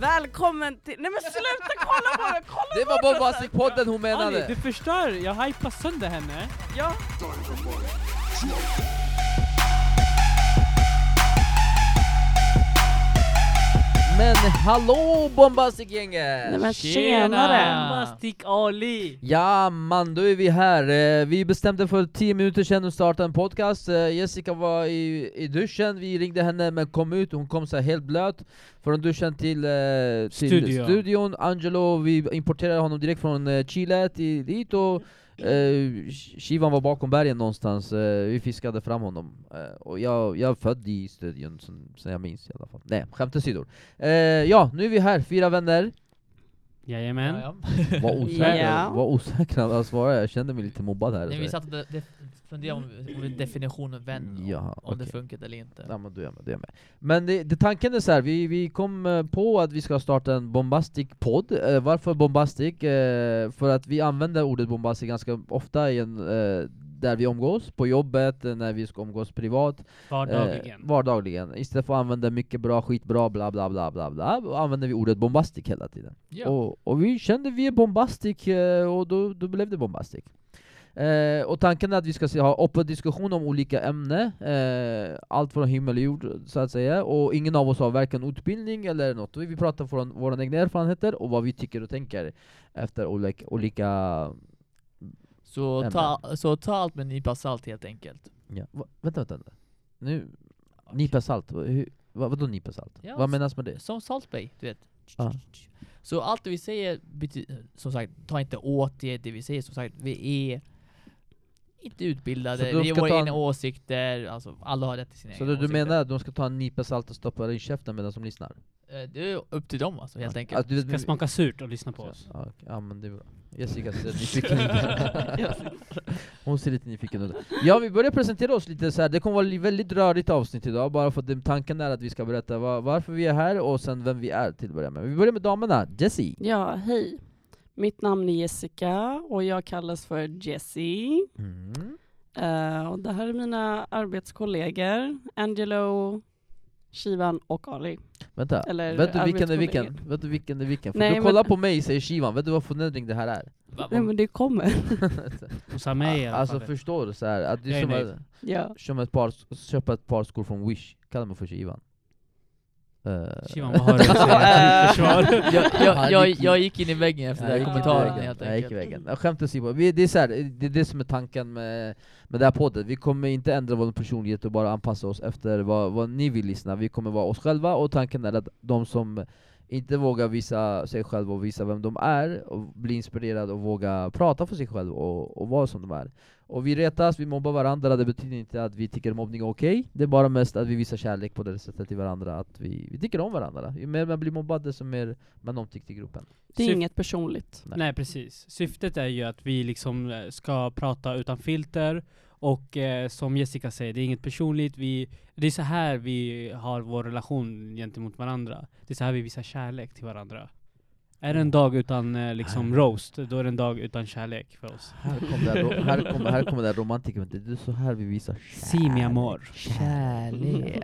välkommen till... Nej men sluta kolla på mig! Kolla Det på var Bob mig! Asik-podden hon Ali, menade! du förstör, jag hypar sönder henne. Ja. Men hallå Nej Bombastic-gänget! men tjenare! Mastik Ali! Ja man, då är vi här. Eh, Vi bestämde för 10 minuter sedan att starta en podcast. Eh, Jessica var i, i duschen, vi ringde henne men kom ut, hon kom så här helt blöt från duschen till, eh, till Studion. studion. Angelo, vi importerade honom direkt från eh, Chile till dit och eh, Shivan var bakom bergen någonstans. Eh, vi fiskade fram honom. Eh, och jag, jag är född i studion, som, som jag minns i alla fall. Nej, skämt åsido. Eh, ja, nu är vi här, fyra vänner. Jajamän. Ja, Vad osäker, Ja. vad osäker han har svarat, jag kände mig lite mobbad här. ja. Nej, vi satt och de- de- funderade om, om definitionen vän, Ja, om det okej. funkade eller inte. Ja, men du är jag med, du är jag med. Men det, det, tanken är så här, vi, vi kom eh, på att vi ska starta en bombastic podd. Eh, varför bombastic? Eh, för att vi använder ordet bombastic ganska ofta i en, eh, där vi omgås, på jobbet, eh, när vi ska omgås privat. Eh, Vardagligen. vardagligen. Istället för att använda mycket bra, skitbra, bla bla bla bla bla, och använder vi ordet bombastic hela tiden. Ja. Och, och vi kände vi är bombastic, eh, och då, då blev det bombastic. Eh, och tanken är att vi ska se, ha öppen diskussion om olika ämnen, eh, allt från himmel och jord så att säga, och ingen av oss har varken utbildning eller något. Vi pratar från våra egna erfarenheter och vad vi tycker och tänker efter olika, olika Så, ta, så ta allt med en nypa salt helt enkelt. ja. Va, vänta, vänta, vänta. Nu, nypa salt, Va- hur, vad, vadå nypa salt? Ja, vad s- menas med det? Som Salt Bay, du vet. Ja. Så allt det vi säger, bety- som sagt, ta inte åt det, det vi säger som sagt, vi är inte Så utbildade, de det är ska våra ta egna en- åsikter, alltså alla har rätt till sina Så egna du, du åsikter. menar att de ska ta en nypa salt och stoppa det i käften medan de lyssnar? Eh, Det är upp till dem alltså, helt enkelt. Att du vet- Ska smaka surt och lyssna på oss. Ja, okej. ja men det är bra. Jessica ser nyfiken ut. Hon ser lite nyfiken ut. Ja vi börjar presentera oss lite så här. det kommer vara li- väldigt rörigt avsnitt idag, bara för att den tanken är att vi ska berätta va- varför vi är här och sen vem vi är till att börja med. Vi börjar med damerna, Jessie. ja, hej. Mitt namn är Jessica och jag kallas för Jessie. Mm. Eh, och det här är mina arbetskollegor, Angelo, Shivan och Ali. Vänta, Eller vet du vilken är arbetskollegor. vilken? Vet du vilken är vilken? För Nej, du men- kollar på mig säger Shivan, vet du vad förnedring det här är? Va- Nej men det kommer. Hos mig i alla alltså fall. förstår du så här, att det Jag är är som, nöjd. att- ja. som ett par, köpa ett par skor från Wish, kalla mig för Shivan. Eh, Shivan, vad har du att säga till försvar? jag, jag, Han jag, gick- jag gick in i väggen efter den här gick i kommentaren väggen. helt Jag gick i enkelt. väggen. Jag skämt åsido, vi- det är så här, det är det som är tanken med, med den här podden. Vi kommer inte ändra vår personlighet och bara anpassa oss efter vad, vad ni vill lyssna. Vi kommer vara oss själva och tanken är att de som inte vågar visa sig själva och visa vem de är, och bli inspirerade och våga prata för sig själv och, och vara som de är. Och vi retas, vi mobbar varandra, det betyder inte att vi tycker mobbning är okej, det är bara mest att vi visar kärlek på det sättet till varandra, att vi, vi tycker om varandra. Ju mer man blir mobbad, desto mer man omtyckt i gruppen. Det är Syf- inget personligt. Nej precis. Syftet är ju att vi liksom eh, ska prata utan filter och eh, som Jessica säger, det är inget personligt. Vi, det är så här vi har vår relation gentemot varandra. Det är så här vi visar kärlek till varandra. Är Mm. det en dag utan eh, Ah. liksom roast, då är det en dag utan kärlek för oss. Här kommer det, här kommer, här kommer det här romantiken, det är så här vi visar Si mi amor. kärlek.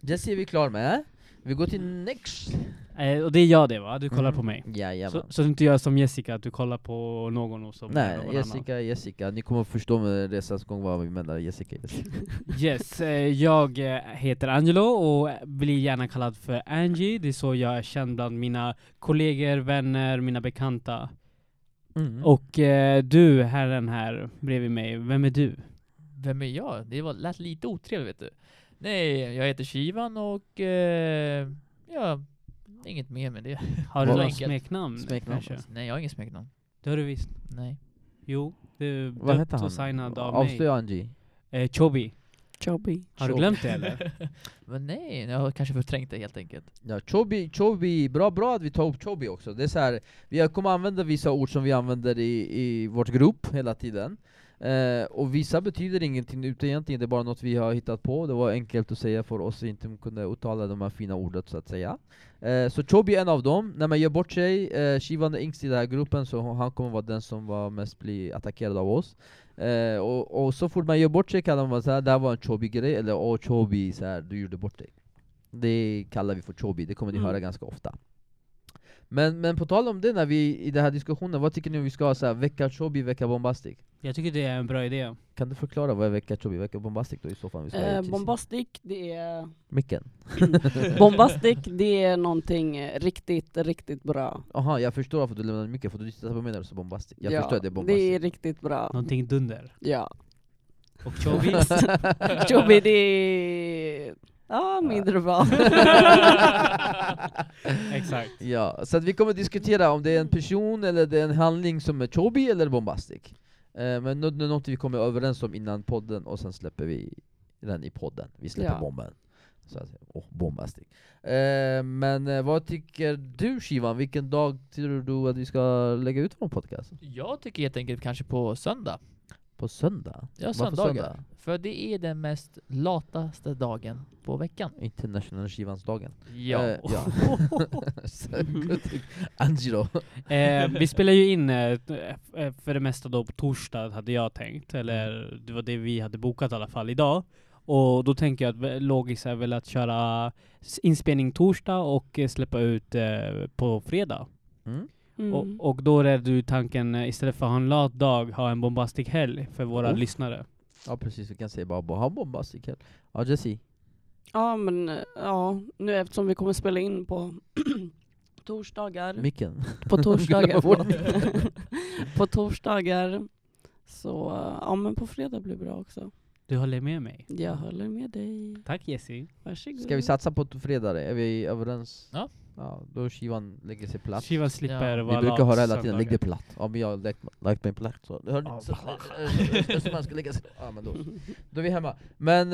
Jesse är vi klar med. Vi går till next. Eh, och det är jag det va? Du kollar Mm. på mig. Så, Jajamän. så du inte gör som Jessica, att du kollar på någon och så blir det någon Nej, Jessica, Jessica. Ni kommer förstå med resans gång vad vi menar, Jessica. Jessica. annan. Yes, eh, jag eh, heter Angelo och blir gärna kallad för Angie. Det är så jag är känd bland mina kollegor, vänner, mina bekanta. Mm. Och eh, du, herren här bredvid mig, vem är du? Vem är jag? Det var, lät lite otrevligt vet du. Nej, jag heter Shivan och eh, ja, inget mer med det. Har du Vad- något enkelt. smeknamn? Smeknamn. kanske? Nej, jag har inget smeknamn. Det har du visst. Nej. Jo, du Vad döpt heter och han? signad av Avslöja Angie. mig. Eh, Chobi. Jobbig. Har du Chobi. glömt det eller? Men nej, jag har kanske förträngt det helt enkelt. Ja, Chobi, Chobi, bra, bra att vi tar upp Chobi också. Det är så här, vi kommer använda vissa ord som vi använder i, i vårt grupp hela tiden. Eh, och vissa betyder ingenting ute egentligen, det är bara något vi har hittat på. Det var enkelt att säga för oss som inte kunde uttala de här fina ordet så att säga. Eh, så Chobi är en av dem. När man gör bort sig, eh, Shivan är yngst i den här gruppen så han kommer vara den som var mest bli attackerad av oss. Eh, och, och så fort man gör bort sig kallar man så här, det här var en Chobi-grej, eller åh Chobi, så här, du gjorde bort dig. Det kallar vi för chobi, det kommer ni Mm. höra ganska ofta. Men, men på tal om det, när vi i den här diskussionen, vad tycker ni om vi ska ha så här, vecka Chobi, vecka Bombastic? Jag tycker det är en bra idé. Kan du förklara vad är vecka Chobi, vecka Bombastic då i så fall? Vi ska ha Eh, i precis- bombastic, det är... Micken? Bombastic, det är någonting riktigt, riktigt bra. Jaha, jag förstår varför du lämnade micken, för du tittar på mig när du sa Bombastic. Jag förstår att det är Bombastic. Det är riktigt bra. Någonting dunder. Ja. Och Chobi, Chubby, det är... Ja, mindre bra. exakt. Ja, så att vi kommer diskutera om det är en person eller det är en handling som är chobi eller bombastic. Eh, men nå- det är något vi kommer överens om innan podden och sen släpper vi den i podden. Vi släpper Ja. bomben. Så att, oh, bombastic. Eh, men eh, vad tycker du Shivan? Vilken dag tror du att vi ska lägga ut vår podcast? Jag tycker helt enkelt kanske på söndag. På söndag? Ja, Varför söndagar. För det är den mest lataste dagen på veckan. International Shivansdagen. Ja. Eh, ja. Så, Angelo. Eh, vi spelar ju in eh, t- eh, för det mesta då på torsdag hade jag tänkt, eller det var det vi hade bokat i alla fall idag. Och då tänker jag att vä- logiskt är väl att köra s- inspelning torsdag och eh, släppa ut eh, på fredag. Mm? Mm. Och, och då är du tanken, eh, istället för att ha en lat dag, ha en bombastisk helg för våra Oh. lyssnare. Ja precis, vi kan säga bara bara ha bombastic här. Ja Jesse. Ja, men eh, ja, nu eftersom vi kommer spela in på torsdagar. Micken. På torsdagar, Glömmer bort förlåt. På torsdagar. Så eh, ja, men på fredag blir bra också. Du håller med mig. Jag håller med dig. Tack Jesse. Varsågod. Ska vi satsa på t- fredag? Är vi överens? Ja. ja då Shivan lägger sig platt. Shivan slipper Ja. Vi vara brukar lat höra hela tiden, söndagar. lägg dig platt. Ja men jag har lagt, lagt mig platt så. Hörde ni? Så- eh, så man ska lägga sig. Ja men då, då är vi hemma. Men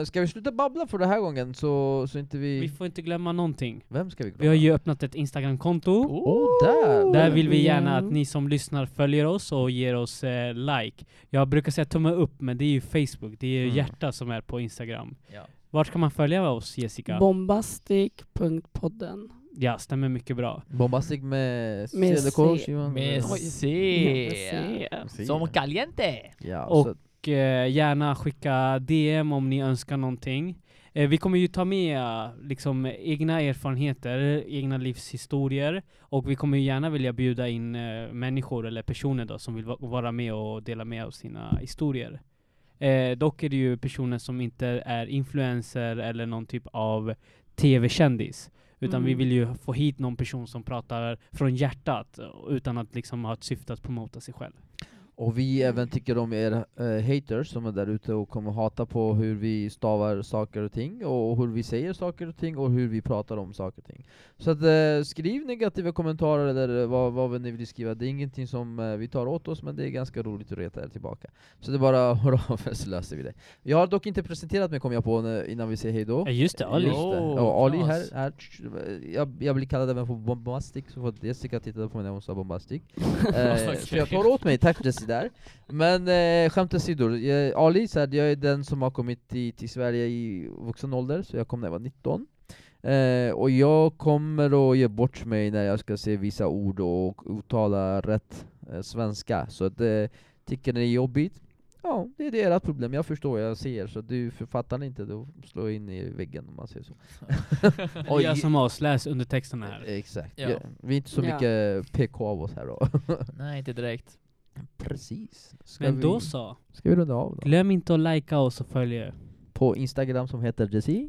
eh, ska vi sluta babbla för den här gången så, så inte vi... Vi får inte glömma någonting. Vem ska vi glömma? Vi har ju öppnat ett Instagram-konto. Oh, där! Där vill vi gärna Mm. att ni som lyssnar följer oss och ger oss eh, like. Jag brukar säga tumme upp, men det är ju Facebook, det är ju Mm. hjärta som är på Instagram. Ja. Vart kan man följa oss Jessica? Bombastic.podden. ja, stämmer mycket bra. Bombastic med Med CDK C. Shivan. Med Oj. C. Som caliente! Ja, Och- så, Och eh, gärna skicka DM om ni önskar någonting. Eh, vi kommer ju ta med eh, liksom egna erfarenheter, egna livshistorier och vi kommer ju gärna vilja bjuda in eh, människor eller personer då som vill va- vara med och dela med av sina historier. Eh, dock är det ju personer som inte är influencer eller någon typ av tv-kändis. Utan Mm. vi vill ju få hit någon person som pratar från hjärtat eh, utan att liksom ha ett syfte att promota sig själv. och vi även tycker om er eh, haters som är där ute och kommer hata på hur vi stavar saker och ting, och hur vi säger saker och ting, och hur vi pratar om saker och ting. Så att, eh, skriv negativa kommentarer eller eh, vad, vad ni vill skriva, det är ingenting som eh, vi tar åt oss men det är ganska roligt att reta er tillbaka. Så det är bara att höra av er så löser vi det. Jag har dock inte presenterat mig kom jag på när, innan vi säger hejdå. Ja, Eh, just det, Ali. Just det. Åh, Ja, Ali knas. här, här tsch, jag, jag blir kallad även för bombastic, så får Jessica tittade på mig när hon sa bombastic. eh, så jag tar åt mig, tack Jessie där. Men eh, skämt åsido, eh, Ali, så här, jag är den som har kommit till, till Sverige i vuxen ålder, så jag kom när jag var 19. Eh, och jag kommer att ge bort mig när jag ska se vissa ord och uttala rätt eh, svenska, så att, eh, tycker ni det är jobbigt, ja det är det ert problem, jag förstår, jag ser, så du fattar inte, då slår jag in i väggen om man säger så. Oj. Gör som oss, läs undertexterna här. Exakt. Ja. Ja. Vi är inte så Ja. mycket PK av oss här då. Nej, inte direkt. Precis. Ska Men då vi, så. ska vi runda av då? Glöm inte att likea oss och följa. er. På Instagram som heter Jessie.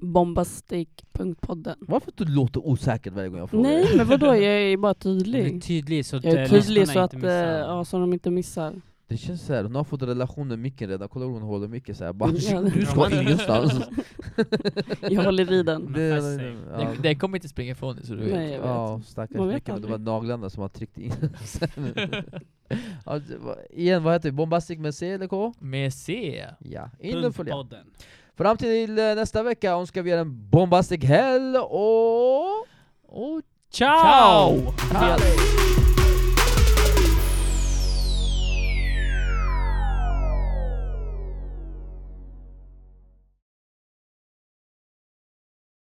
Bombastic.podden. Varför du låter osäker varje gång jag frågar? Nej, men vadå? Jag är bara Den är tydlig. tydlig så att Jag är eh, tydlig lyssnarna så att, inte eh, missar. ja, så de inte missar. Det känns såhär, hon har fått relationen med micken redan, kolla hur hon håller micken såhär bara Ja. Du ska ingenstans. Jag håller i den. Hon har fast sig. ja, Det, det kommer inte springa ifrån dig så du Nej, vet. jag vet. ja, stackars Man vet micken, men det var aldrig. naglarna som har tryckt in sen. ja, det var- Igen, vad heter vi? Bombastic med C eller K? Med C. Ja, in och Punkt följa. podden. Fram till eh, nästa vecka önskar vi er en bombastic helg och... Och Ciao! ciao!